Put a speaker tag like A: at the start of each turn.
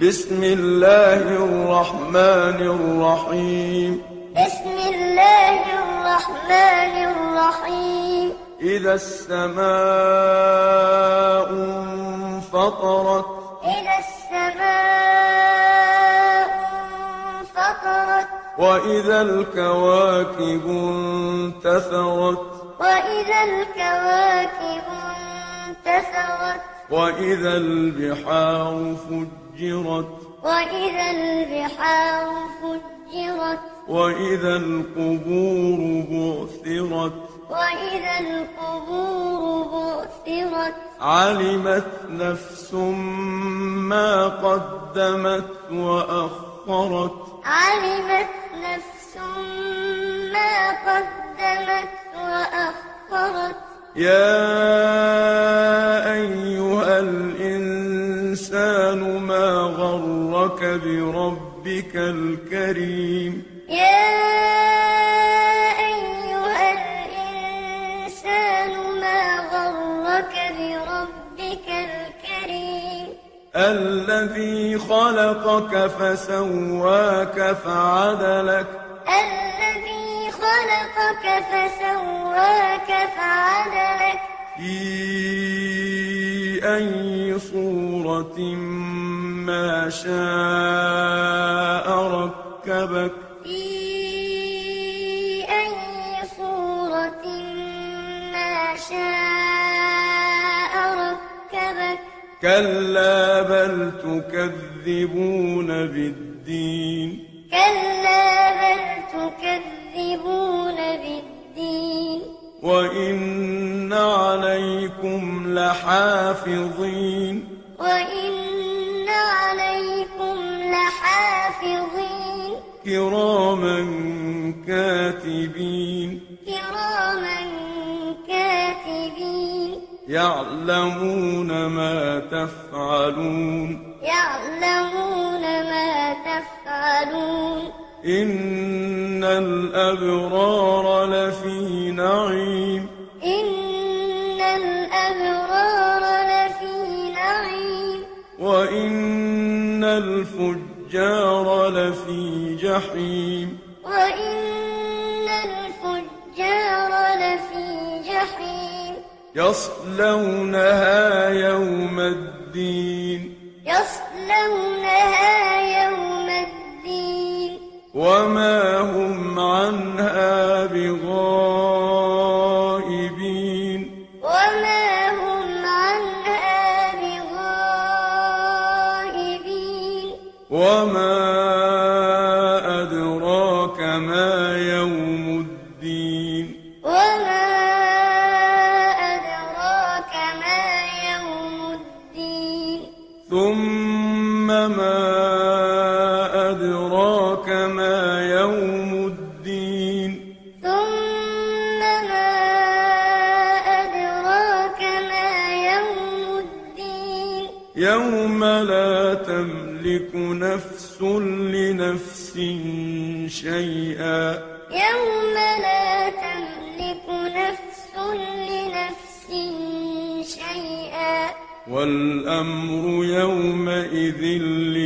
A: بسم الله الرحمن الرحيم
B: بسم الله الرحمن الرحيم
A: إذا السماء انفطرت
B: إذا السماء انفطرت
A: وإذا الكواكب انتثرت
B: وإذا الكواكب انتثرت
A: وإذا البحار فجرت
B: وإذا البحار فجرت
A: وإذا القبور بعثرت
B: وإذا القبور بعثرت
A: علمت نفس ما قدمت وأخرت
B: علمت نفس ما قدمت وأخرت
A: يا أيها الإنسان ما غرك بربك الكريم
B: يا أيها الإنسان ما غرك بربك الكريم
A: الذي خلقك فسواك فعدلك
B: الذي خلقك فسواك فعدلك
A: في أي صورة ما شاء ركبك
B: في أي صورة ما شاء ركبك
A: كلا بل تكذبون بالدين
B: كلا بل تكذبون بالدين
A: وإن عليكم لحافظين
B: وإن عليكم لحافظين
A: كراما كاتبين
B: كراما كاتبين
A: يعلمون ما تفعلون
B: يعلمون ما تفعلون
A: إن الأبرار لفي نعيم
B: إن الأبرار لفي نعيم
A: وإن الفجار لفي جحيم
B: وإن الفجار لفي جحيم
A: يصلونها يوم الدين
B: يصلونها يوم الدين
A: وما هم عنها بغائبين
B: وما هم عنها بغائبين
A: وما أدراك ما يوم الدين
B: وما أدراك ما يوم الدين
A: ثم ما أدراك ما يوم الدين
B: ثم ما أدراك ما يوم الدين
A: يوم لا تملك نفس لنفس شيئا
B: يوم لا تملك نفس لنفس شيئا
A: والأمر يومئذ